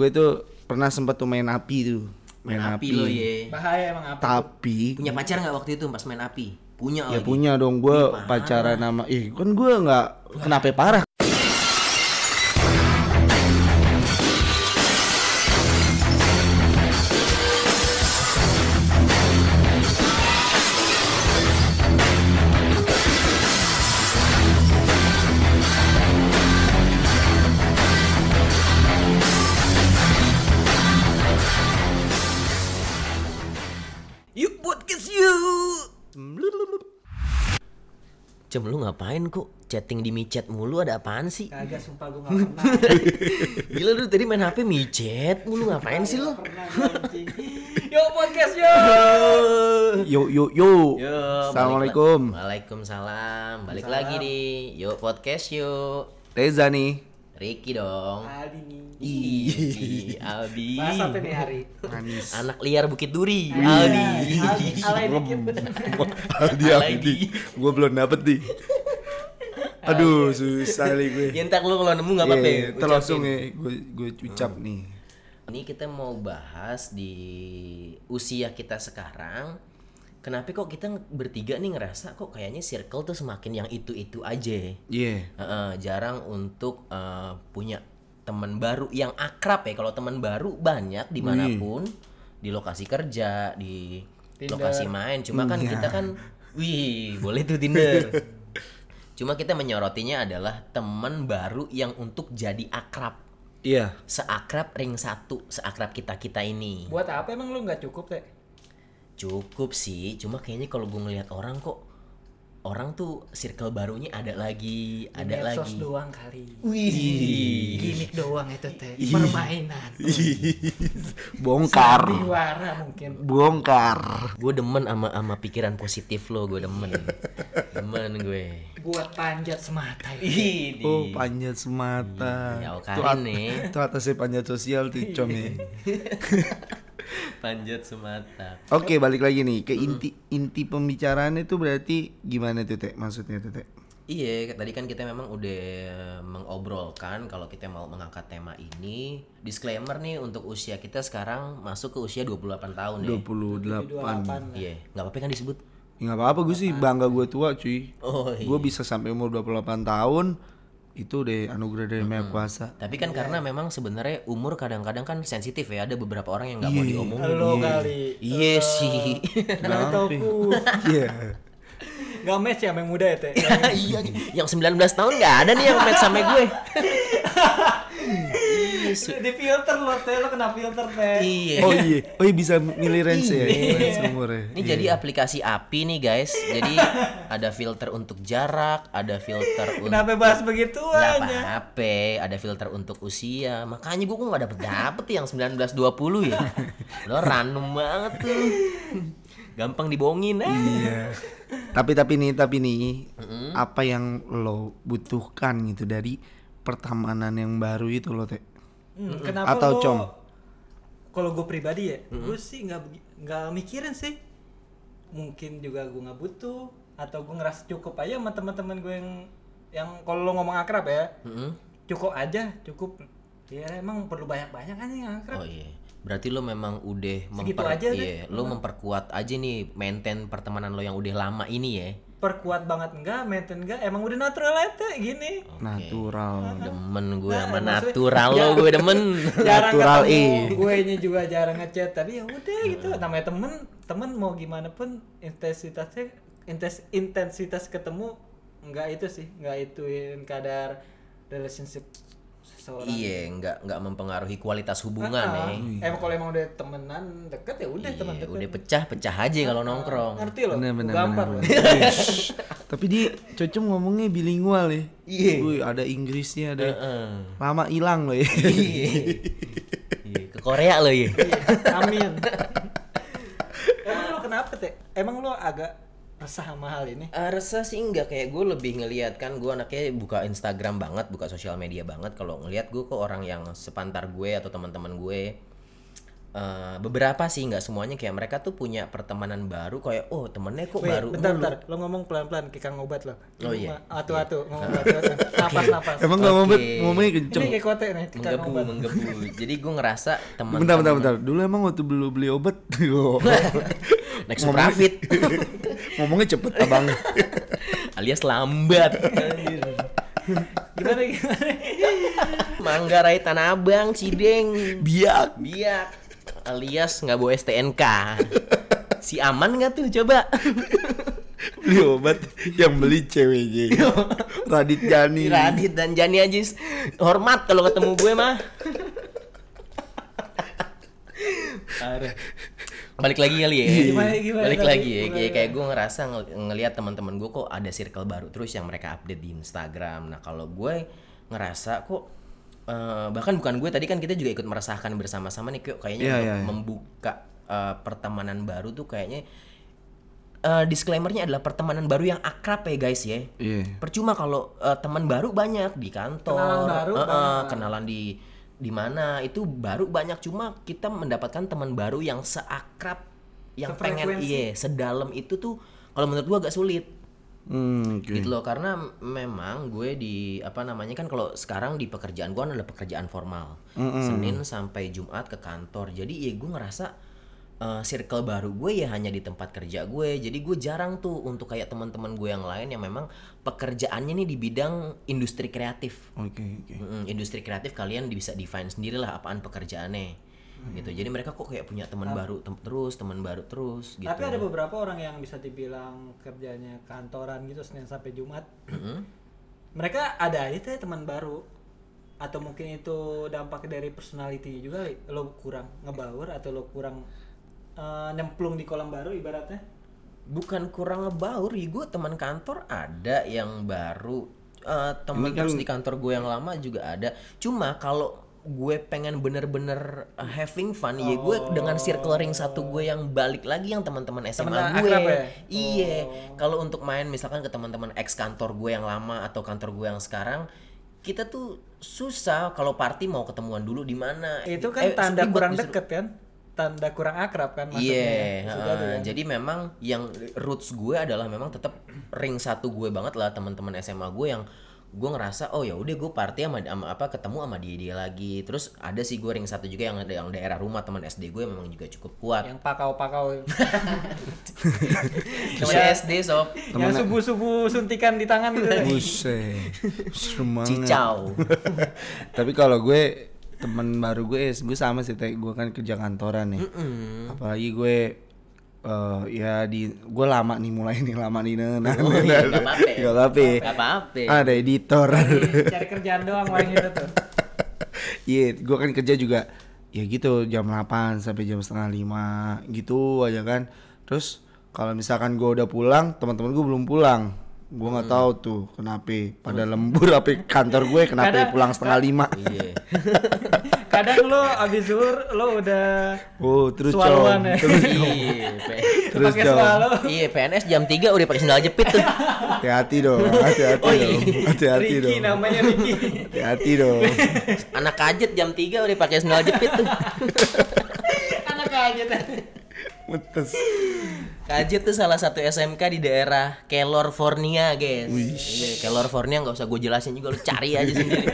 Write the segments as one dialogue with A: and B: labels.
A: Gue tuh pernah sempat tuh main api tuh.
B: Main api lo ye.
C: Bahaya emang apa?
A: Tapi
B: Punya pacar nggak waktu itu pas main api? Punya oh,
A: ya
B: lagi.
A: punya dong gue pacaran nama ih kan gue nggak kenapa parah
B: You iya. podcast you. Cem lu ngapain kok chatting di micet mulu ada apaan sih?
C: Kagak sumpah gue gak pernah.
B: Gila lu tadi main HP micet mulu ngapain sih lu?
C: Nggak pernah gua, anjing. Yo podcast yo.
A: yo yo yo,
B: Yo,
A: assalamualaikum
B: balik la- Waalaikumsalam. Balik lagi di Yuk Podcast Yuk.
A: Reza nih
B: Ricky dong.
C: Adi nih.
B: Ih, Aldi.
C: Bahas apa nih hari?
A: manis
B: Anak liar Bukit Duri.
C: Iya,
B: Aldi.
C: Aldi. Alay dikit.
A: Aldi Aldi gue belum dapet nih aduh susah nih gue
B: Ya ntar lu kalau nemu nggak apa-apa.
A: Iya, ntar
B: ucapin.
A: langsung ya gue gue ucap nih
B: Ini kita mau bahas di usia kita sekarang. Kenapa kok kita bertiga nih ngerasa kok kayaknya circle tuh semakin yang itu-itu aja.
A: iya
B: Heeh, jarang untuk eh, punya teman baru yang akrab ya. Kalau teman baru banyak dimanapun, di lokasi kerja, di lokasi main. Cuma kan
A: Iya.
B: kita kan, wih boleh tuh Tinder. Cuma kita menyorotinya adalah teman baru yang untuk jadi akrab
A: iya
B: seakrab ring satu seakrab kita kita ini
C: Buat apa emang lu nggak cukup teh?
B: cukup sih cuma kayaknya kalau gue ngelihat orang kok orang tuh circle barunya ada lagi
C: Di
B: ada
C: medsos
B: lagi
C: doang kali.
B: wih
C: Gimik doang itu teh. Permainan.
A: bongkar
C: Sandiwara mungkin.
A: bongkar
B: gue demen sama sama pikiran positif lo gue demen demen gue
C: Buat panjat semata. ya.
B: Ih,
A: Oh panjat semata
B: Ya,
A: Tuh
B: Karin
A: at-
B: nih.
A: Tuh atasnya panjat sosial
B: Iya.
A: tuh com ya
B: panjat semata
A: Oke balik lagi nih ke inti inti pembicaraannya tuh berarti gimana tuh teh maksudnya tuh teh
B: Iya, tadi kan kita memang udah mengobrolkan kalau kita mau mengangkat tema ini. Disclaimer nih untuk usia kita sekarang masuk ke usia 28 tahun
A: 28
B: ya. Iya, nggak apa-apa kan disebut.
A: Ya nggak apa-apa gue sih bangga gue tua cuy
B: Oh iya.
A: Gue bisa sampai umur 28 tahun Itu deh anugerah dari Maha Kuasa
B: Tapi kan karena memang sebenarnya umur kadang-kadang kan sensitif ya. Ada beberapa orang yang nggak mau diomongin.
C: Lo kali.
B: Iya sih.
A: Kenapa?
C: Narutoku.
A: Iya
C: Gak match ya sama yang muda ya teh.
B: Iya, yang 19 tahun nggak ada nih yang match sama gue.
C: Di filter lo teh, lo kena filter teh.
B: Iya.
A: Oh iya Oh iya bisa milih range ya range umurnya. Iya.
B: Ini jadi aplikasi API nih guys. Jadi ada filter untuk jarak, ada filter untuk
C: Kenapa bahas ya? begitu
B: Gak
C: aja?
B: apa-apa, ada filter untuk usia. Makanya gue kok gak dapet dapet yang 1920 ya. Lo random banget tuh. Gampang dibohongin eh.
A: Iya. Tapi tapi nih tapi nih apa yang lo butuhkan gitu dari pertemanan yang baru itu lo teh
C: Hmm, kenapa
A: Atau
C: lo-
A: com?
C: Kalau gue pribadi ya, gue sih nggak begi- nggak mikirin sih. Mungkin juga gue nggak butuh atau gue ngerasa cukup aja sama teman-teman gue yang yang kalau lo ngomong akrab ya,
B: Mm-mm.
C: cukup aja, cukup. Ya emang perlu banyak-banyak aja yang akrab.
B: Oh iya. Berarti lo memang udah
C: Segitu
B: memper
C: aja kan? deh.
B: iya, lo memperkuat aja nih maintain pertemanan lo yang udah lama ini ya.
C: Perkuat banget enggak, maintain enggak, emang udah natural aja teh, gini.
B: Oh.
A: natural
B: Demen gue sama
C: Nah, maksudnya-
B: natural lo gue demen. iya.
C: jarang
A: Natural,
B: E.
C: ketemu gue nya juga jarang ngechat tapi ya udah gitu namanya temen temen mau gimana pun intensitasnya intens intensitas ketemu nggak itu sih nggak ituin kadar relationship seseorang
B: iya, nggak nggak mempengaruhi kualitas hubungan
C: Ah,
B: ya.
C: emang kalau emang udah temenan deket ya udah teman
B: Iya,
C: deket
B: udah pecah-pecah aja kalau nongkrong.
C: ngerti loh
A: benar benar
C: gampang
A: benar,
C: loh
A: benar. Shh. tapi dia cocok ngomongnya bilingual ya
B: Iya.
A: Wih, ada Inggrisnya ada
B: Heeh.
A: lama hilang lo ya
B: Iya. Iya, Ke Korea lo ya.
C: Iya, amin emang lo kenapa teh emang lo agak resah sama hal ini
B: Eh, resah sih enggak kayak gue lebih ngelihat kan gue anaknya buka Instagram banget buka sosial media banget kalau ngelihat gue kok orang yang sepantar gue atau teman-teman gue eh, beberapa sih nggak semuanya kayak mereka tuh punya pertemanan baru kayak oh temennya kok
C: Wait,
B: baru
C: bentar,
B: mulu."
C: bentar. Lo ngomong pelan-pelan kayak kang obat lo.
B: Oh, iya.
C: Atu-atu, ngomong atu-atu. Napas, napas.
A: Emang nggak mau bet,
B: Oke.
A: ngomongnya
C: Ini
A: kenceng.
C: kayak kote nih, kayak kang
B: menggebu
C: obat.
B: menggebu jadi gue ngerasa teman
A: Bentar, bentar, bentar. Dulu emang waktu beli beli obat, yo.
B: next
A: Ngomongnya-
B: profit
A: ngomongnya cepet abang.
B: alias lambat
C: Gimana, gimana?
B: Manggarai Tanah Abang Cideng
A: Biak.
B: biak alias nggak bawa STNK si aman nggak tuh coba
A: beli obat yang beli ceweknya Radit Jani
B: Radit dan Jani Ajis hormat kalau ketemu gue mah Parah. balik lagi kali ya
C: Iya. Gimana, gimana
B: balik
C: tadi?
B: lagi ya
C: Gimana,
B: kayak, kayak gue ngerasa ngel- ngelihat teman-teman gue kok ada circle baru terus yang mereka update di Instagram nah kalau gue ngerasa kok eh, bahkan bukan gue tadi kan kita juga ikut merasakan bersama-sama nih kayak- kayaknya
A: Iya,
B: untuk
A: iya, iya.
B: membuka eh, pertemanan baru tuh kayaknya eh, disclaimernya adalah pertemanan baru yang akrab ya guys ya
A: Iya.
B: percuma kalau eh, teman baru banyak di kantor
C: Kenalan baru
B: eh, eh,
C: banyak.
B: kenalan di di mana itu baru banyak cuma kita mendapatkan teman baru yang seakrab yang pengen
C: Sefrekuensi.
B: iya sedalam itu tuh kalau menurut gua agak sulit
A: Hmm, oke.
B: gitu loh karena memang gue di apa namanya kan kalau sekarang di pekerjaan gue adalah pekerjaan formal Senin sampai Jumat ke kantor jadi ya gue ngerasa eh, circle baru gue ya hanya di tempat kerja gue jadi gue jarang tuh untuk kayak teman-teman gue yang lain yang memang pekerjaannya nih di bidang industri kreatif
A: Oke, oke.
B: Mm, industri kreatif kalian bisa define sendirilah apaan pekerjaannya gitu jadi mereka kok kayak punya teman baru tem- terus teman baru terus gitu
C: Tapi ada beberapa orang yang bisa dibilang kerjanya kantoran gitu Senin sampai Jumat.
B: Mm.
C: Mereka ada aja tuh ya teman baru atau mungkin itu dampak dari personality juga Li. lo kurang ngebaur atau lo kurang eh, nyemplung di kolam baru ibaratnya
B: bukan kurang ngebaur ya gue teman kantor ada yang baru Eh, teman terus
C: kan
B: di kantor gue yang lama juga ada cuma kalau gue pengen bener-bener uh, having fun ya gue
C: Oh.
B: dengan circle ring satu gue yang balik lagi yang teman-teman SMA
C: Temenan
B: gue
C: akrab ya? Oh.
B: iya kalau untuk main misalkan ke teman-teman ex kantor gue yang lama atau kantor gue yang sekarang kita tuh susah kalau party mau ketemuan dulu di mana
C: itu
B: Eh,
C: kan tanda
B: ribet
C: kurang
B: justru.
C: deket kan tanda kurang akrab kan maksudnya
B: Iya,
C: ya? Sudah
B: heeh.
C: ada ya?
B: jadi memang yang roots gue adalah memang tetap ring satu gue banget lah teman-teman SMA gue yang gue ngerasa oh ya udah gue party sama, sama apa ketemu sama dia dia lagi terus ada sih gue ring satu juga yang ada yang daerah rumah teman SD gue memang juga cukup kuat
C: yang pakau-pakau
B: teman SD sob
C: yang subuh-subuh suntikan di tangan gitu
A: Buset. Semangat.
B: cicau
A: Tapi kalau gue teman baru gue, eh, gue sama sih, Teh. gue kan kerja kantoran nih. Apalagi gue eh, ya di gue lama nih mulai nih lama nih nah, nah,
B: Oh, iya, nggak apa-apa.
A: Nggak apa-apa. ya. Ah.
B: Nggak apa-apa. ya.
A: ada editor
C: cari kerjaan doang orang itu tuh
A: Iya, gua kan kerja juga ya gitu jam 8 sampai jam setengah lima gitu aja kan. Terus kalau misalkan gua udah pulang, teman-teman gua belum pulang. Gua nggak tahu tuh kenapa pada lembur apa kantor gue kenapa
C: Kadang-
A: pulang setengah lima.
B: iya
C: kadang lo abis zuhur lo udah
A: Oh, terus
C: Swaluan
A: cong.
C: ya.
A: Terus cong.
B: iya P-
A: Terus
C: pakai
A: cong.
C: swallow
B: iya, PNS jam 3 udah pakai sandal jepit tuh
A: Hati-hati dong, hati-hati
B: Oh, iya.
A: dong. Hati-hati
C: Ricky
A: dong.
C: namanya Ricky
A: Hati-hati dong.
B: anak kajet jam 3 udah pakai sandal jepit tuh
C: anak aja tuh
A: Mutes.
B: Kajet tuh salah satu SMK di daerah California, guys. Iya, California nggak usah gue jelasin juga lu cari aja sendiri.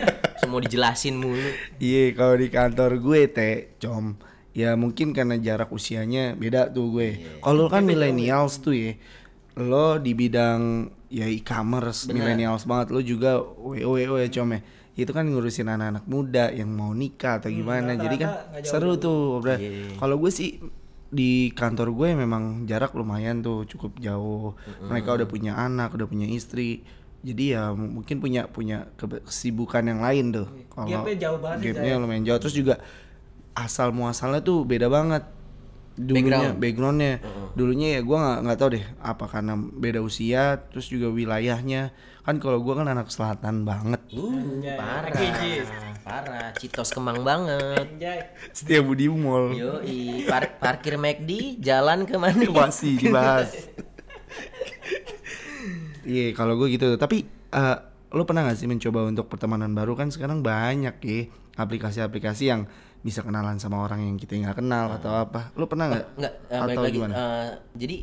B: Semua dijelasin mulu.
A: Iya, kalau di kantor gue teh com ya mungkin karena jarak usianya beda tuh gue.
C: Iya,
A: Kalau kan millennials tuh ya, lo di bidang ya e-commerce millennials banget, lo juga wo wo ya com ya. Itu kan ngurusin anak-anak muda yang mau nikah atau gimana, jadi kan
C: Hmm, rata-rata nggak Iya, jauh
A: seru tuh. Bro. Kalau gue sih di kantor gue memang jarak lumayan tuh cukup jauh. Mereka udah punya anak, udah punya istri. Jadi ya m- mungkin punya punya kebe- kesibukan yang lain tuh. Kalau
C: Gapnya jauh banget sih,
A: gapnya lumayan jauh. Terus juga asal muasalnya tuh beda banget. Dulunya
B: Background.
A: backgroundnya, dulunya ya gue nggak nggak tahu deh apa karena beda usia, terus juga wilayahnya. Kan kalau gue kan anak selatan banget.
B: Uh,
C: Anjay.
B: parah.
C: Kikis.
B: Parah, Citos Kemang banget.
C: Anjay.
A: Setia Budi Mall,
B: Yoi, par- parkir McD, jalan ke mana?
A: masih dibahas. Iya, kalau gue gitu. Tapi eh, lo pernah gak sih mencoba untuk pertemanan baru kan sekarang banyak ya aplikasi-aplikasi yang bisa kenalan sama orang yang kita nggak kenal atau apa lu pernah nggak
B: Nggak, eh, balik
A: atau
B: lagi.
A: gimana
B: eh, jadi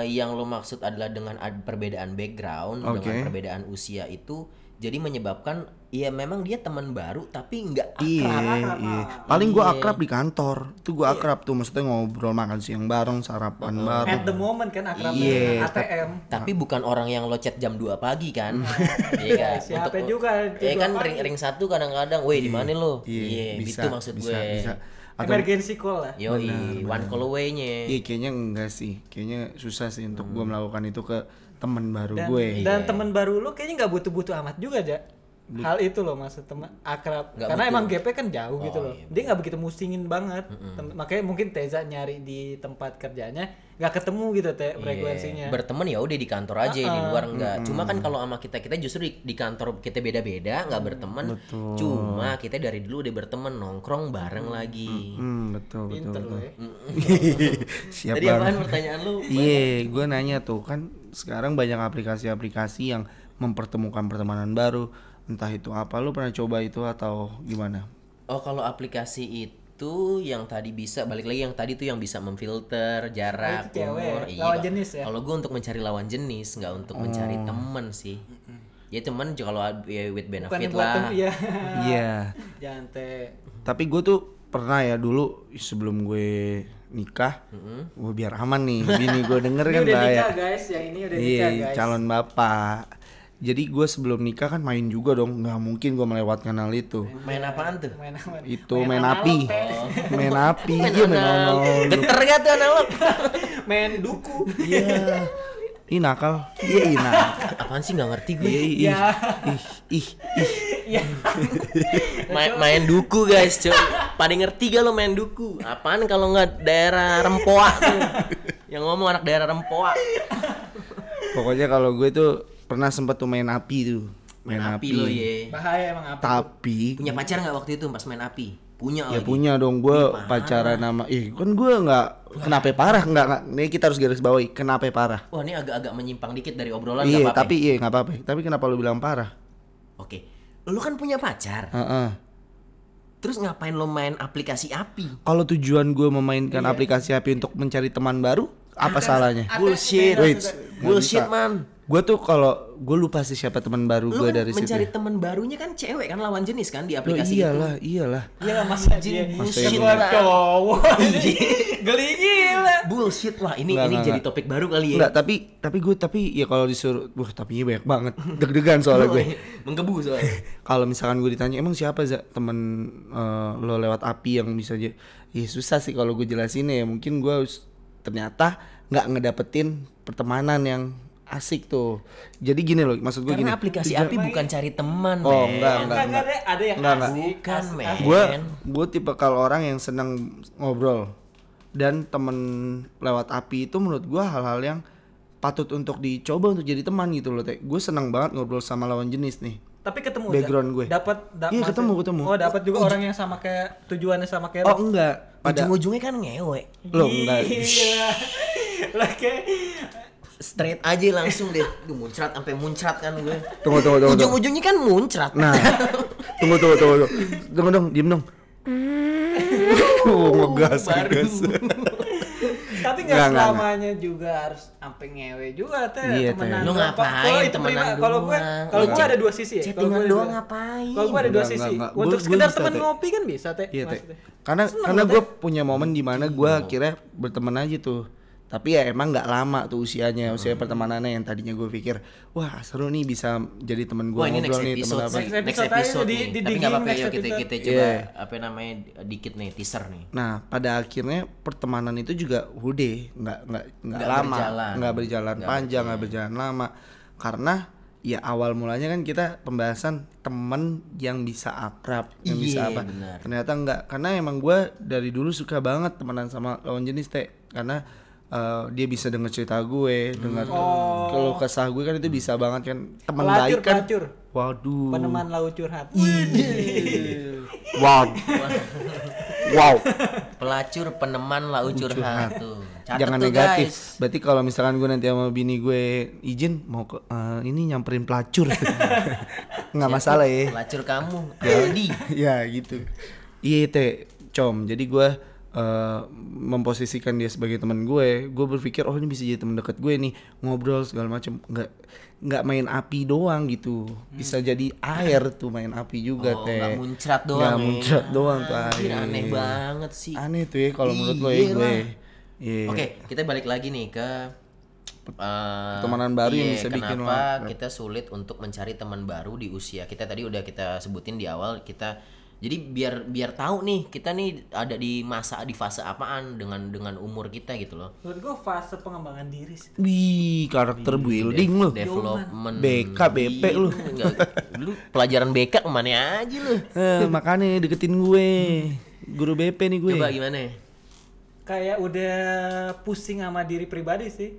B: eh, yang lo maksud adalah dengan ad- perbedaan background, dengan
A: Oke.
B: perbedaan usia itu, jadi menyebabkan ya memang dia teman baru tapi nggak
A: Iya,
B: akrab. Iya.
A: iya. Paling gua akrab di kantor. Itu gua akrab tuh maksudnya ngobrol makan siang bareng, sarapan bareng.
C: At the moment kan akrabnya
A: Iya,
C: dengan
A: tapi-
C: ATM.
B: Tapi bukan orang yang lo chat jam 2 pagi kan? Iya kan?
C: siapa
B: Untuk-
C: juga jam
B: Iya
C: 2
B: kan
C: pagi.
B: ring ring satu kadang-kadang, "Woi, di mana lo?" Iya,
A: bisa,
B: itu maksud
A: bisa,
B: gue.
A: bisa. Atau
C: Emergency call lah.
B: Yoi, one call away-nya.
A: iya kayaknya enggak sih. Kayaknya susah sih untuk
B: Hmm.
A: gua melakukan itu ke teman baru
C: Dan,
A: gue.
C: dan teman baru lu kayaknya nggak butuh-butuh amat juga, Ja. Hal itu loh maksud teman akrab.
B: Nggak
C: Karena
B: butuh.
C: emang GP kan jauh gitu
A: Oh,
C: loh.
A: iya,
C: Dia nggak begitu musingin banget. Tem- makanya mungkin Teza nyari di tempat kerjanya nggak ketemu gitu teh
A: Iya.
C: frekuensinya.
B: berteman ya udah di kantor aja di luar enggak cuma kan kalau sama kita kita justru di, di kantor kita beda beda nggak berteman cuma kita dari dulu udah berteman nongkrong bareng lagi
A: Hmm, betul, betul,
C: Pinter
A: betul.
C: lu ya.
A: Siap
B: tadi
A: Ya, Bang.
B: apaan pertanyaan lu
A: Iya, gue nanya tuh kan sekarang banyak aplikasi-aplikasi yang mempertemukan pertemanan baru. Entah itu apa, lu pernah coba itu atau gimana?
B: oh kalau aplikasi itu yang tadi bisa balik lagi yang tadi tuh yang bisa memfilter jarak
C: Oh, itu cewek,
B: umur Iya,
C: lawan
B: Pak.
C: jenis ya?
B: kalau gue untuk mencari lawan jenis nggak untuk mencari
A: Oh.
B: temen sih ya temen juga kalau ya, with
C: Bukan
B: benefit
C: buat
B: lah
C: tem- iya.
A: Iya.
C: Jangan teh.
A: Tapi gue tuh pernah ya dulu sebelum gue nikah, gue biar aman nih, bini gue denger
C: Mm-hmm. Ini
A: kan
C: udah
A: bahaya.
C: nikah guys, yang ini udah
A: Iya,
C: nikah guys.
A: calon bapak. Jadi gue sebelum nikah kan main juga dong, nggak mungkin gue melewatkan hal itu.
B: main apaan tuh
C: Main aman.
A: Itu main, api, main api, iya main
B: Analog.
A: analog.
B: Geter gak tuh analog?
C: Main duku.
A: Iya, ih nakal, iya ih nakal.
B: Apaan sih nggak ngerti gue?
A: Iya, ih,
C: Ya.
A: ih, ih, ih.
C: Iya.
B: Ma- main duku guys, cuy. Paling ngerti gak lo main duku? Apaan kalau nggak daerah Rempoa tuh? Yang ngomong anak daerah Rempoa.
A: Pokoknya kalau gue tuh pernah sempet tuh main api tuh, main,
B: Main api
A: api.
B: lo
C: iya.
B: ye.
C: Bahaya emang api.
A: Tapi
B: Punya pacar nggak waktu itu pas main api? Punya
A: Hmm. Ya
B: lagi.
A: punya dong
B: Iya,
A: gue pacaran nama ih kan gue nggak kenapa ya parah nggak nggak ini kita harus garis bawahi kenapa ya parah
B: Wah ini agak-agak menyimpang dikit dari obrolan nggak
A: iya
B: apa-apa. ya.
A: tapi iya nggak apa-apa tapi kenapa lu bilang parah
B: Oke, lo kan punya pacar.
A: Heeh.
B: Terus ngapain lo main aplikasi api?
A: kalau tujuan gue memainkan
B: Iya.
A: aplikasi api untuk mencari teman baru apa salahnya
B: Bullshit.
A: Wait, nggak bisa.
B: Bullshit man.
A: gue tuh kalau gue lupa sih siapa teman baru
B: Lo
A: gue
B: kan
A: dari situ ya.
B: mencari teman barunya kan cewek kan lawan jenis kan di
A: Loh,
B: aplikasi itu.
A: iyalah iyalah
C: Iya lah masa dia.
B: Bullshit
A: Iya.
C: Gua
B: lah.
C: cowok. Geli gila.
B: Iya. Bullshit wah ini
A: Nggak,
B: ini
A: nggak,
B: jadi
A: nggak.
B: topik baru kali ya.
A: Enggak, tapi tapi gue tapi ya kalau disuruh wah tapi banyak banget deg-degan soalnya gue
B: Menggebu soalnya.
A: kalau misalkan gue ditanya emang siapa za temen eh, lo lewat api yang bisa jadi ya susah sih kalau gue jelasin ya mungkin gue harus- ternyata nggak ngedapetin pertemanan yang asik tuh jadi gini loh maksud gue gini
B: Karena aplikasi api bukan cari teman,
A: oh
B: men.
A: enggak enggak
C: Enggak enggak ada ada yang
A: Enggak, enggak.
C: asik.
B: Bukan,
C: asik.
B: men.
A: gue gue tipe kalau orang yang seneng ngobrol dan temen lewat api itu menurut gue hal-hal yang patut untuk dicoba untuk jadi teman gitu loh gue seneng banget ngobrol sama lawan jenis nih
C: Tapi ketemu Zak?
A: Background gue.
C: Dapat
A: Iya,
C: maksud-
A: ketemu, ketemu.
C: Oh, dapat juga orang yang sama kayak tujuannya sama kayak
A: oh
C: lu.
A: enggak pada
B: Ujung-ujungnya kan ngewe.
A: lo enggak
C: Gila. Iya. Lah kayak
B: Straight aja langsung deh. Duh, muncrat sampai muncrat kan gue.
A: Tunggu tunggu tunggu. tunggu.
B: Ujung-ujungnya kan muncrat.
A: Nah. tunggu tunggu tunggu. Tunggu, tunggu dong, diem dong. Oh, ngegas,
B: baru.
A: ngegas.
C: tapi
A: Enggak,
C: enggak
A: enggak,
C: selamanya juga harus sampai ngewe juga teh
A: Iya, Teh.
C: temenan.
B: Lu
C: doang.
B: ngapain
C: Nah, Kalau itu
B: temenan
C: prima. Kalau gue
B: doang?
C: kalau gue
B: Enggak.
C: ada dua sisi ya. Kalau gue
B: Chattingan
C: ada
B: doang
C: dua-
B: ngapain?
C: Kalau gue ada dua
A: Enggak,
C: sisi.
A: enggak, enggak.
C: Untuk
A: Gua- gua
C: sekedar
A: bisa,
C: temen
A: Teh.
C: ngopi kan bisa teh.
A: Iya, Teh.
C: maksudnya.
A: Karena karena gue punya momen di mana gue akhirnya berteman aja tuh. Tapi ya emang nggak lama tuh usianya, usia pertemanannya yang tadinya gue pikir, wah seru nih bisa jadi temen gue
B: Wah, ini
A: ngobrol
B: next
A: nih temen
B: episode
A: apa.
B: sih.
C: Next
B: Next
C: episode
B: episode
C: aja,
B: nih.
C: di- di
B: Tapi nggak
C: digging
B: apa-apa
C: next
B: yuk kita
C: episode.
B: kita coba
A: Iya.
B: apa namanya dikit nih teaser nih.
A: Nah, pada akhirnya pertemanan itu juga udah nggak nggak nggak
B: Nggak
A: lama,
B: berjalan.
A: nggak berjalan
B: Nggak
A: panjang, nggak berjalan lama, karena ya awal mulanya kan kita pembahasan temen yang bisa akrab, yang
B: Iya,
A: bisa apa.
B: benar.
A: Ternyata nggak, karena emang gue dari dulu suka banget temenan sama lawan jenis teh, karena eh, dia bisa denger cerita gue, dengar
B: Hmm. Oh.
A: kalau kesah gue kan itu bisa banget kan teman
C: Pelacur,
A: baik kan.
C: pelacur.
A: Waduh.
C: Peneman laut curhat.
A: Iya. Wow. wow.
B: Pelacur peneman lau curhat tuh. Catet
A: jangan
B: tuh,
A: negatif.
B: guys.
A: Berarti kalau misalkan gue nanti sama bini gue izin mau ke eh, ini nyamperin pelacur. Nggak masalah ya.
B: Pelacur kamu. Aldi.
A: ya gitu. Iya teh com jadi gue eh, memposisikan dia sebagai teman gue gue berpikir oh ini bisa jadi teman dekat gue nih ngobrol segala macem nggak nggak main api doang gitu bisa jadi air tuh main api juga
B: Hmm. Oh,
A: teh
B: nggak muncrat doang.
A: Nggak
B: ya.
A: muncrat doang tuh
B: Anjir,
A: air.
B: aneh banget sih.
A: Iya. aneh tuh ya kalau menurut lo ya
B: Iya
A: gue
B: lah.
A: Iya.
B: Oke, kita balik lagi nih ke eh,
A: Pertemanan baru yang
B: iya,
A: bisa bikin lo
B: kenapa kita sulit untuk mencari teman baru di usia kita tadi udah kita sebutin di awal kita jadi biar biar tahu nih kita nih ada di masa di fase apaan dengan dengan umur kita gitu loh
C: menurut gue fase pengembangan diri sih
A: wih karakter
B: Iya,
A: building lo
B: development Iya,
A: BK, BP lu.
B: Nggak- lu pelajaran BK kemana aja lu
A: eh, makanya deketin gue guru BP nih gue
B: coba gimana ya?
C: kayak udah pusing sama diri pribadi sih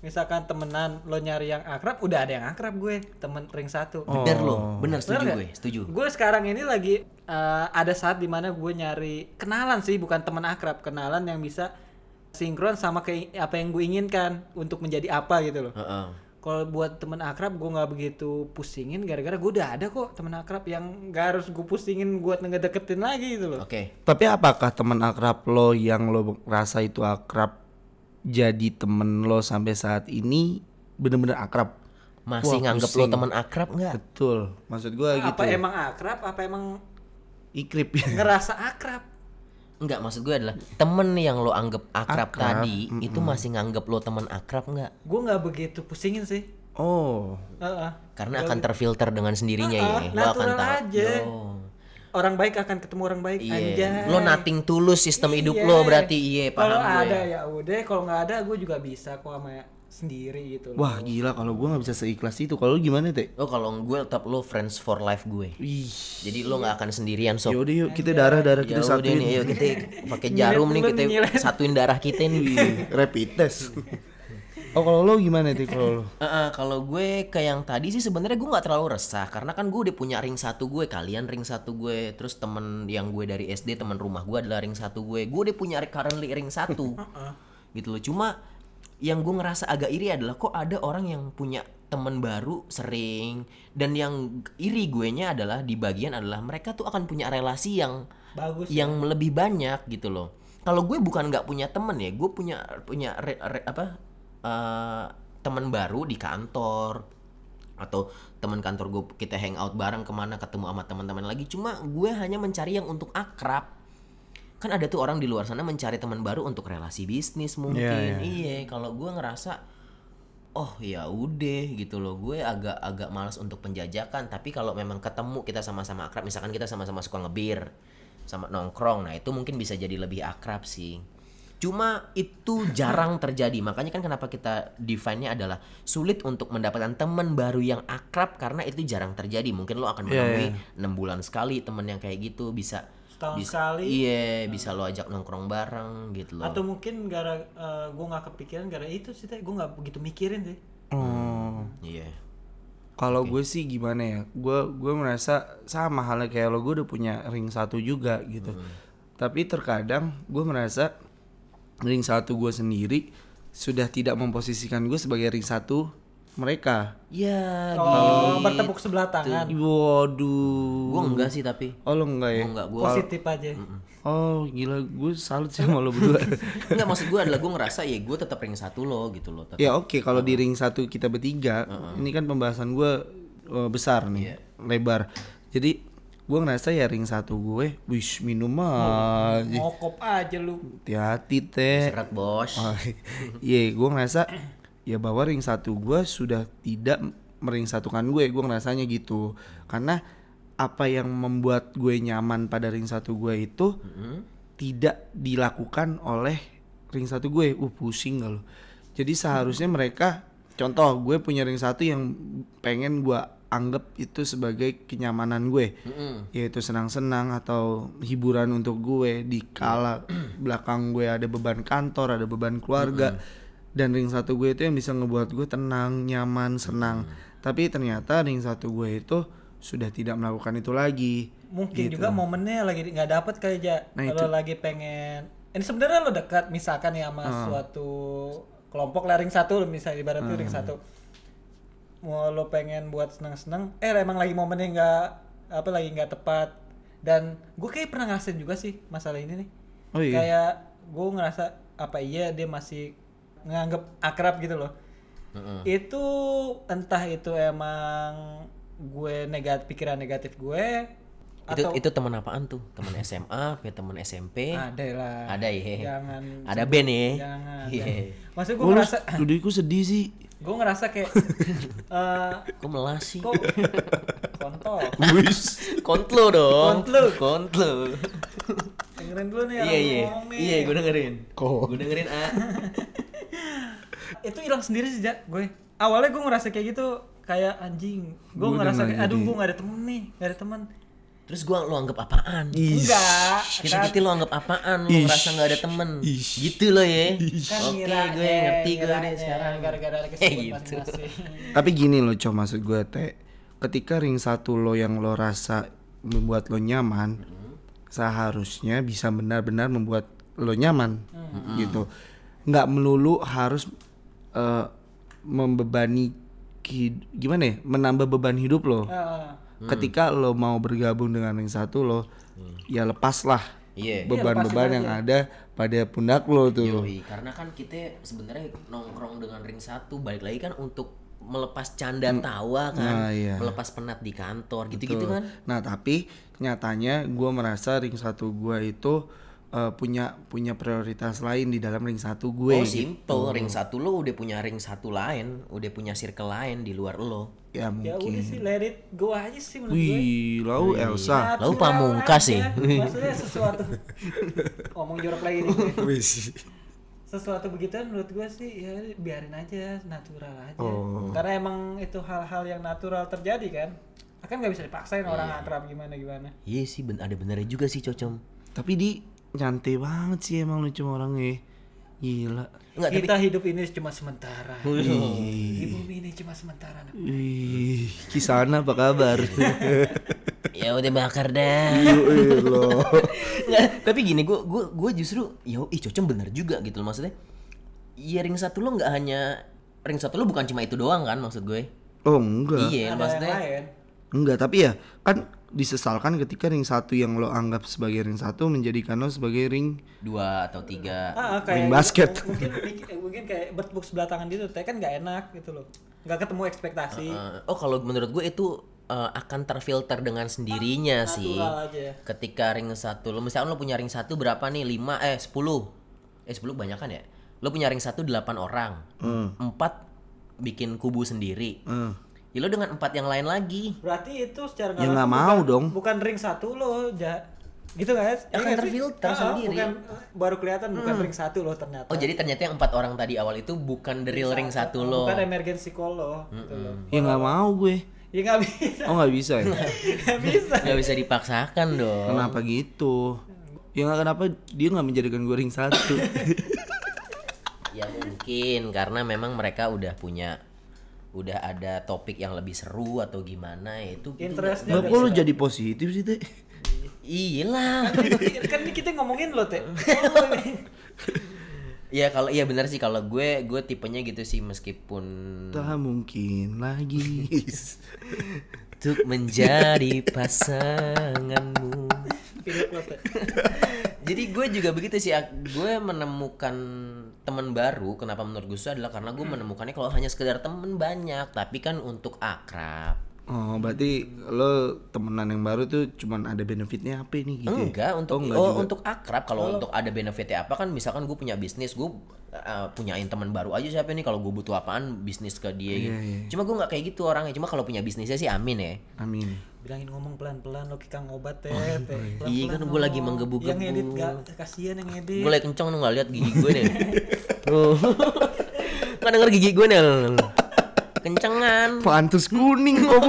C: misalkan temenan lo nyari yang akrab udah ada yang akrab gue temen ring satu
B: bener lo
A: Oh.
B: bener setuju
C: Bener nggak?
B: gue setuju
C: gue sekarang ini lagi eh, ada saat dimana gue nyari kenalan sih bukan teman akrab kenalan yang bisa sinkron sama kayak apa yang gue inginkan untuk menjadi apa gitu loh
B: Heeh.
C: kalau buat temen akrab gue nggak begitu pusingin gara-gara gue udah ada kok temen akrab yang nggak harus gue pusingin buat ngedeketin lagi gitu loh
B: oke
A: Tapi apakah teman akrab lo yang lo rasa itu akrab jadi temen lo sampai saat ini bener-bener akrab?
B: masih
A: Wah,
B: nganggep lo
A: pusing.
B: teman akrab nggak
A: Betul, maksud gua
B: Ah,
A: gitu.
C: apa
B: ya?
C: emang akrab apa emang
A: Ikrip ya.
C: ngerasa akrab
B: Enggak, maksud gue adalah temen yang lo anggap akrab, tadi itu masih nganggep lo temen akrab nggak?
C: gue nggak begitu pusingin sih
A: Oh,
C: Heeh.
B: Karena akan terfilter dengan sendirinya ya.
C: Ah,
B: Lo akan
C: natural
B: tahu.
C: aja.
B: Oh,
C: orang baik akan ketemu orang baik
B: Iya.
C: anjay
B: Lo nating tulus sistem hidup lo
C: Iya.
B: berarti iya paham
C: kalau
B: gue.
C: ada ya udah kalau nggak ada gue juga bisa kok sama sendiri gitu loh.
A: wah gila kalau gua nggak bisa seikhlas itu. Kalau lu gimana, Teh?
B: Lo kalau gue tetap lo friends for life gue.
A: Ih.
B: Jadi lo nggak akan sendirian sob.
A: Yaudah yuk kita darah-darah
B: Ya
A: kita
B: udah
A: satuin.
B: nih, ayo kita
C: Iya,
B: pakai jarum nih
C: dulu,
B: kita
C: nyilet.
B: satuin darah kita nih.
A: Rapid test. oh, kalau lo gimana, Teh? Kalau lo?
B: Heeh, kalau gue ke yang tadi sih sebenarnya gue nggak terlalu resah karena kan gue udah punya ring satu gue kalian ring satu gue terus temen yang gue dari SD temen rumah gue adalah ring satu gue gue udah punya currently ring satu gitu loh cuma yang gue ngerasa agak iri adalah kok ada orang yang punya temen baru sering dan yang iri gue nya adalah di bagian adalah mereka tuh akan punya relasi yang
C: bagus
B: yang lebih banyak gitu loh. Kalau gue bukan nggak punya temen ya, gue punya punya re- re- apa eh, temen baru di kantor atau teman kantor gue kita hangout bareng kemana ketemu sama teman-teman lagi. Cuma gue hanya mencari yang untuk akrab. Kan ada tuh orang di luar sana mencari teman baru untuk relasi bisnis mungkin.
A: Iya, iya.
B: Iya, kalau gue ngerasa oh ya udah gitu loh gue agak agak malas untuk penjajakan tapi kalau memang ketemu kita sama-sama akrab misalkan kita sama-sama suka ngebir sama nongkrong nah itu mungkin bisa jadi lebih akrab sih cuma itu jarang terjadi makanya kan kenapa kita define-nya adalah sulit untuk mendapatkan teman baru yang akrab karena itu jarang terjadi mungkin lo akan
A: Iya,
B: menemui enam bulan sekali temen yang kayak gitu bisa
C: Setahun
B: bisa-
C: sekali.
B: iya bisa lo ajak nongkrong bareng gitu loh
C: atau mungkin gara eh, gue nggak kepikiran gara itu sih teh gue nggak begitu mikirin sih
B: Hmm.
A: Oh.
B: iya
A: Kalau gue sih gimana ya, gue gue merasa sama halnya kayak lo gue udah punya ring satu juga gitu. Tapi terkadang gue merasa ring satu gue sendiri sudah tidak memposisikan gue sebagai ring satu mereka.
B: ya
C: oh
B: gitu.
C: bertepuk sebelah tangan
A: Waduh.
B: Gue enggak sih tapi
A: Oh lo enggak ya?
B: Gue enggak gue
C: positif aja
A: Oh gila gue salut sih sama lo berdua.
B: Enggak maksud gue adalah gue ngerasa ya gue tetap ring satu lo gitu loh tetap.
A: ya oke kalau di ring satu kita bertiga, ini kan pembahasan gue eh, besar nih, lebar. Jadi gue ngerasa ya ring satu gue, wish minum aja.
C: ngokop aja lu
A: hati-hati teh
B: Seret bos
A: Oh, iya gue ngerasa ya bahwa ring satu gue sudah tidak meringsatukan gue gue ngerasanya gitu karena apa yang membuat gue nyaman pada ring satu gue itu tidak dilakukan oleh ring satu gue uh pusing gak lo jadi seharusnya mereka contoh gue punya ring satu yang pengen gue anggap itu sebagai kenyamanan gue
B: Mm-mm.
A: yaitu senang-senang atau hiburan untuk gue di kala belakang gue ada beban kantor, ada beban keluarga dan ring satu gue itu yang bisa ngebuat gue tenang, nyaman, senang. Tapi ternyata ring satu gue itu sudah tidak melakukan itu lagi.
C: mungkin juga momennya lagi di- nggak dapet kali aja
A: Nah,
C: kalau lagi pengen ini sebenarnya lo dekat misalkan ya sama suatu kelompok lah ring satu lo misalnya ibarat tuh ring satu mau lo pengen buat seneng seneng eh emang lagi momennya nggak apa lagi nggak tepat dan gue kayak pernah ngerasain juga sih masalah ini nih
A: Oh iya?
C: kayak gue ngerasa apa iya dia masih nganggep akrab gitu loh itu entah itu emang gue negatif pikiran negatif gue
B: Itu
C: atau
B: itu teman apaan tuh? Teman SMA, punya teman SMP.
C: ada lah
B: Ada ya.
C: jangan
B: Ada band ya.
C: jangan
B: Iya.
C: maksud gue
A: Gue lu
C: ngerasa
A: studiku sedih sih.
C: gue ngerasa kayak eh,
B: Kok melas sih?
C: kok kontol
A: Wis.
B: Kontlo dong.
C: Kontlo. Ya
B: Kontlo.
C: dengerin dulu nih
B: Iya
C: orang
B: iya.
C: ngomong nih.
B: Iya, gue dengerin.
A: Kok?
B: Gue dengerin ah.
C: itu hilang sendiri sih Jak, gue awalnya gue ngerasa kayak gitu kayak anjing gue
A: Gua udah
C: ngerasa
A: nggak
C: kayak aduh
A: jadi.
C: gue gak ada temen nih gak ada temen
B: Terus gua lu anggap apaan?
A: Ih. Ish.
C: enggak
B: kita
C: kan,
B: gitu lo anggap apaan lo
A: Ish.
B: ngerasa nggak ada temen
A: Ish.
B: gitu lo ya
C: kan
B: oke
C: ngiranya,
B: gue ngerti gue
C: ngiranya
B: nih sekarang
C: gara-gara lagi
B: Eh,
C: sebut
B: gitu.
C: masing-masing
A: Tapi gini loh, Com, maksud gue teh. Ketika ring satu lo yang lo rasa membuat lo nyaman, seharusnya bisa benar-benar membuat lo nyaman, gitu. Nggak melulu harus eh, membebani hid- gimana ya, menambah beban hidup lo.
C: Ah,
A: Ketika lo mau bergabung dengan ring satu lo, ya lepaslah
B: Iya.
A: beban-beban yang ada pada pundak lo tuh.
B: Yoi, karena kan kita sebenarnya nongkrong dengan ring satu balik lagi kan untuk melepas canda tawa
A: Nah,
B: kan
A: iya.
B: melepas penat di kantor gitu-gitu kan
A: Nah tapi nyatanya gue merasa ring satu gue itu eh, punya punya prioritas lain di dalam ring satu ya, gue.
B: Oh simple, ring satu lo udah punya ring satu lain, udah punya circle lain di luar lo.
A: ya
C: ya udah
A: mungkin.
C: sih let it go aja sih menurut gue
A: Wih, lau Elsa.
B: Lalu
C: Natural
B: ah, pamungkas
C: aja.
B: sih.
C: maksudnya sesuatu ngomong jorok lagi nih gue.
A: Wis.
C: sesuatu begitu menurut gue sih ya biarin aja natural aja
A: Oh.
C: karena emang itu hal-hal yang natural terjadi kan akan nggak bisa dipaksain orang akrab gimana gimana
B: Iya sih, ben- ada benernya juga sih cocom.
A: tapi di nyantai banget sih emang lucu orangnya. Gila.
B: Enggak, tapi
C: kita hidup ini cuma sementara di bumi ini cuma sementara Nah, anak.
A: Wih, Kisana apa kabar?
B: ya udah bakar dah.
A: Yoi lo.
B: Nggak, tapi gini gue gue gue justru ya ih cocok bener juga gitu loh maksudnya iya ring satu lo nggak hanya ring satu lo bukan cuma itu doang kan maksud gue
A: Oh enggak.
B: iya
C: ada yang
B: maksudnya
C: lain
A: Enggak, tapi ya kan disesalkan ketika ring satu yang lo anggap sebagai ring satu menjadikan lo sebagai ring
B: dua atau tiga
C: ah, ah,
A: Ring
C: kayak
A: basket.
C: mungkin mungkin kayak bertepuk sebelah tangan gitu teh kan nggak enak gitu loh nggak ketemu ekspektasi
B: Eh, oh kalau menurut gue itu eh, akan terfilter dengan sendirinya sih
C: natural aja
B: ketika ring satu lo misalkan lo punya ring satu berapa nih lima eh sepuluh eh sepuluh banyak kan ya lo punya ring satu delapan orang empat bikin kubu sendiri
A: eh,
B: ya lo dengan empat yang lain lagi
C: berarti itu secara
A: Ya
C: langsung
A: nggak mau
C: bukan-
A: dong.
C: bukan ring satu lo ja gitu guys
B: Ya kan terfilter sendiri. Hmm.
C: bukan baru kelihatan bukan ring satu lo ternyata
B: Oh gitu jadi ternyata yang empat orang tadi awal itu bukan the real ring satu lo.
C: bukan emergency call lo gitu lo
A: ya nggak mau gue
C: ya nggak bisa
A: oh nggak bisa ya
C: nggak bisa
B: Gak bisa dipaksakan dong.
A: kenapa gitu ya nggak kenapa dia nggak menjadikan gue ring satu
B: Ya mungkin karena memang mereka udah punya udah ada topik yang lebih seru atau gimana ya itu itu
C: interestnya
A: nggak kok lo jadi positif sih teh
B: nggak- iyalah
C: kan ini kita ngomongin lo teh
B: ya kalau iya benar sih kalau gue gue tipenya gitu sih meskipun
A: tak mungkin lagi
B: untuk menjadi pasanganmu
C: Pilih lo teh
B: Jadi gue juga begitu sih. Ak- Gue menemukan teman baru. Kenapa menurut gue susah adalah karena
A: Hmm.
B: gue menemukannya kalau hanya sekedar temen banyak, tapi kan untuk akrab.
A: oh berarti lo temenan yang baru tuh cuman ada benefitnya apa nih gitu ya?
B: Enggak untuk
A: oh, enggak
B: oh,
A: juga.
B: untuk akrab kalau untuk ada benefitnya apa kan misalkan gue punya bisnis gue uh, punyain teman baru aja siapa nih kalau gue butuh apaan bisnis ke
A: Iya,
B: dia gitu. Cuma gue nggak kayak gitu orangnya. Cuma kalau punya bisnisnya sih amin ya.
A: amin
C: bilangin ngomong pelan-pelan lo kita ngobat
A: Oh,
C: teh teh
B: Iya, kan gue lagi menggebu-gebu.
C: yang edit gak kasihan yang edit
B: Gue lagi kenceng lu nggak lihat gigi gue nih. Tuh. Nggak denger gigi gue nih. Kencengan.
A: pantus kuning kok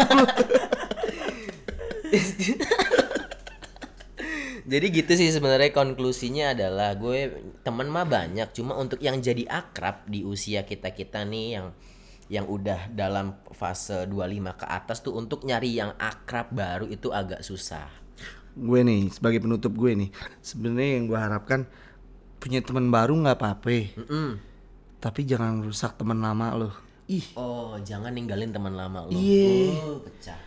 B: Jadi gitu sih sebenarnya konklusinya adalah gue teman mah banyak cuma untuk yang jadi akrab di usia kita-kita nih yang yang udah dalam fase 25 ke atas tuh untuk nyari yang akrab baru itu agak susah.
A: gue nih sebagai penutup gue nih sebenarnya yang gue harapkan punya teman baru nggak apa-apa
B: Mm-mm.
A: tapi jangan rusak teman lama lo ih
B: Oh, jangan ninggalin teman lama lo.
A: Iya.
B: Oh, pecah.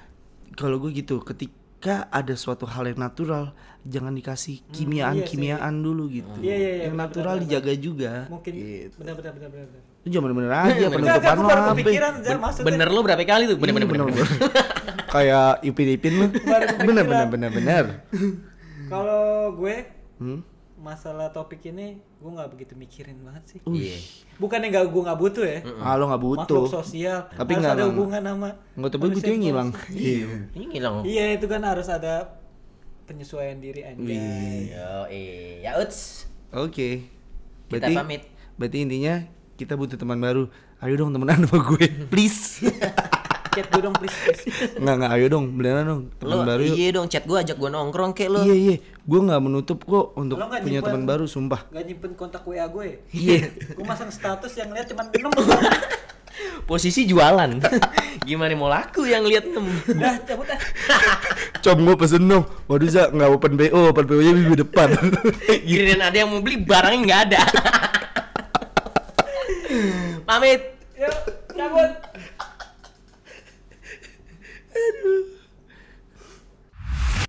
A: kalau gue gitu ketika ketika ada suatu hal yang natural jangan dikasih kimiaan kimiaan dulu gitu
C: Hmm, Iya, iya, iya,
A: yang
C: benar,
A: natural
C: benar,
A: dijaga juga
C: mungkin
A: gitu.
C: benar benar benar benar
A: itu jangan bener-bener aja
C: Enggak, enggak,
A: penutupan
C: aku
A: lo
C: baru
A: apa
C: kepikiran Zal, maksudnya
B: bener lo berapa kali tuh? Bener bener Iya, bener. bener.
A: kayak ipin ipin lu
C: Baru kepikiran. Hmm.
A: bener bener bener bener
C: kalau gue
A: hmm?
C: masalah topik ini gue nggak begitu mikirin banget sih
B: Iya.
C: bukannya nggak gue nggak butuh ya
A: ah lo nggak butuh
C: makhluk sosial
A: Tapi
C: harus
A: nggak
C: ada
A: lama.
C: hubungan sama
A: nggak tapi
C: manusia
A: butuhnya
C: itu.
A: ngilang iya
B: Ini ngilang.
C: iya itu kan harus ada penyesuaian diri
A: Iya.
C: anjay
B: Yo, eh, ya uts.
A: oke
B: Kita
A: berarti
B: pamit.
A: berarti intinya kita butuh teman baru ayo dong temenan sama gue please
C: chat gue dong please, please.
A: nggak nggak ayo dong beneran dong teman
B: Lo
A: baru yuk.
B: iya dong chat gue ajak gue nongkrong kek lo.
A: Iya iya, gue nggak menutup kok untuk
C: Lo nggak
A: punya
C: nyimpen-
A: teman baru, sumpah.
C: gak nyimpen kontak wa gue
A: Iya.
C: gue masang status yang lihat cuma 6
B: Posisi jualan. Gimana mau laku yang lihat nem?
C: udah cabut ah
A: Com gue pesen dong. Waduh za nggak open bo, open bo nya minggu depan.
B: Giliran ada yang mau beli barangnya nggak ada. Pamit.
C: yuk cabut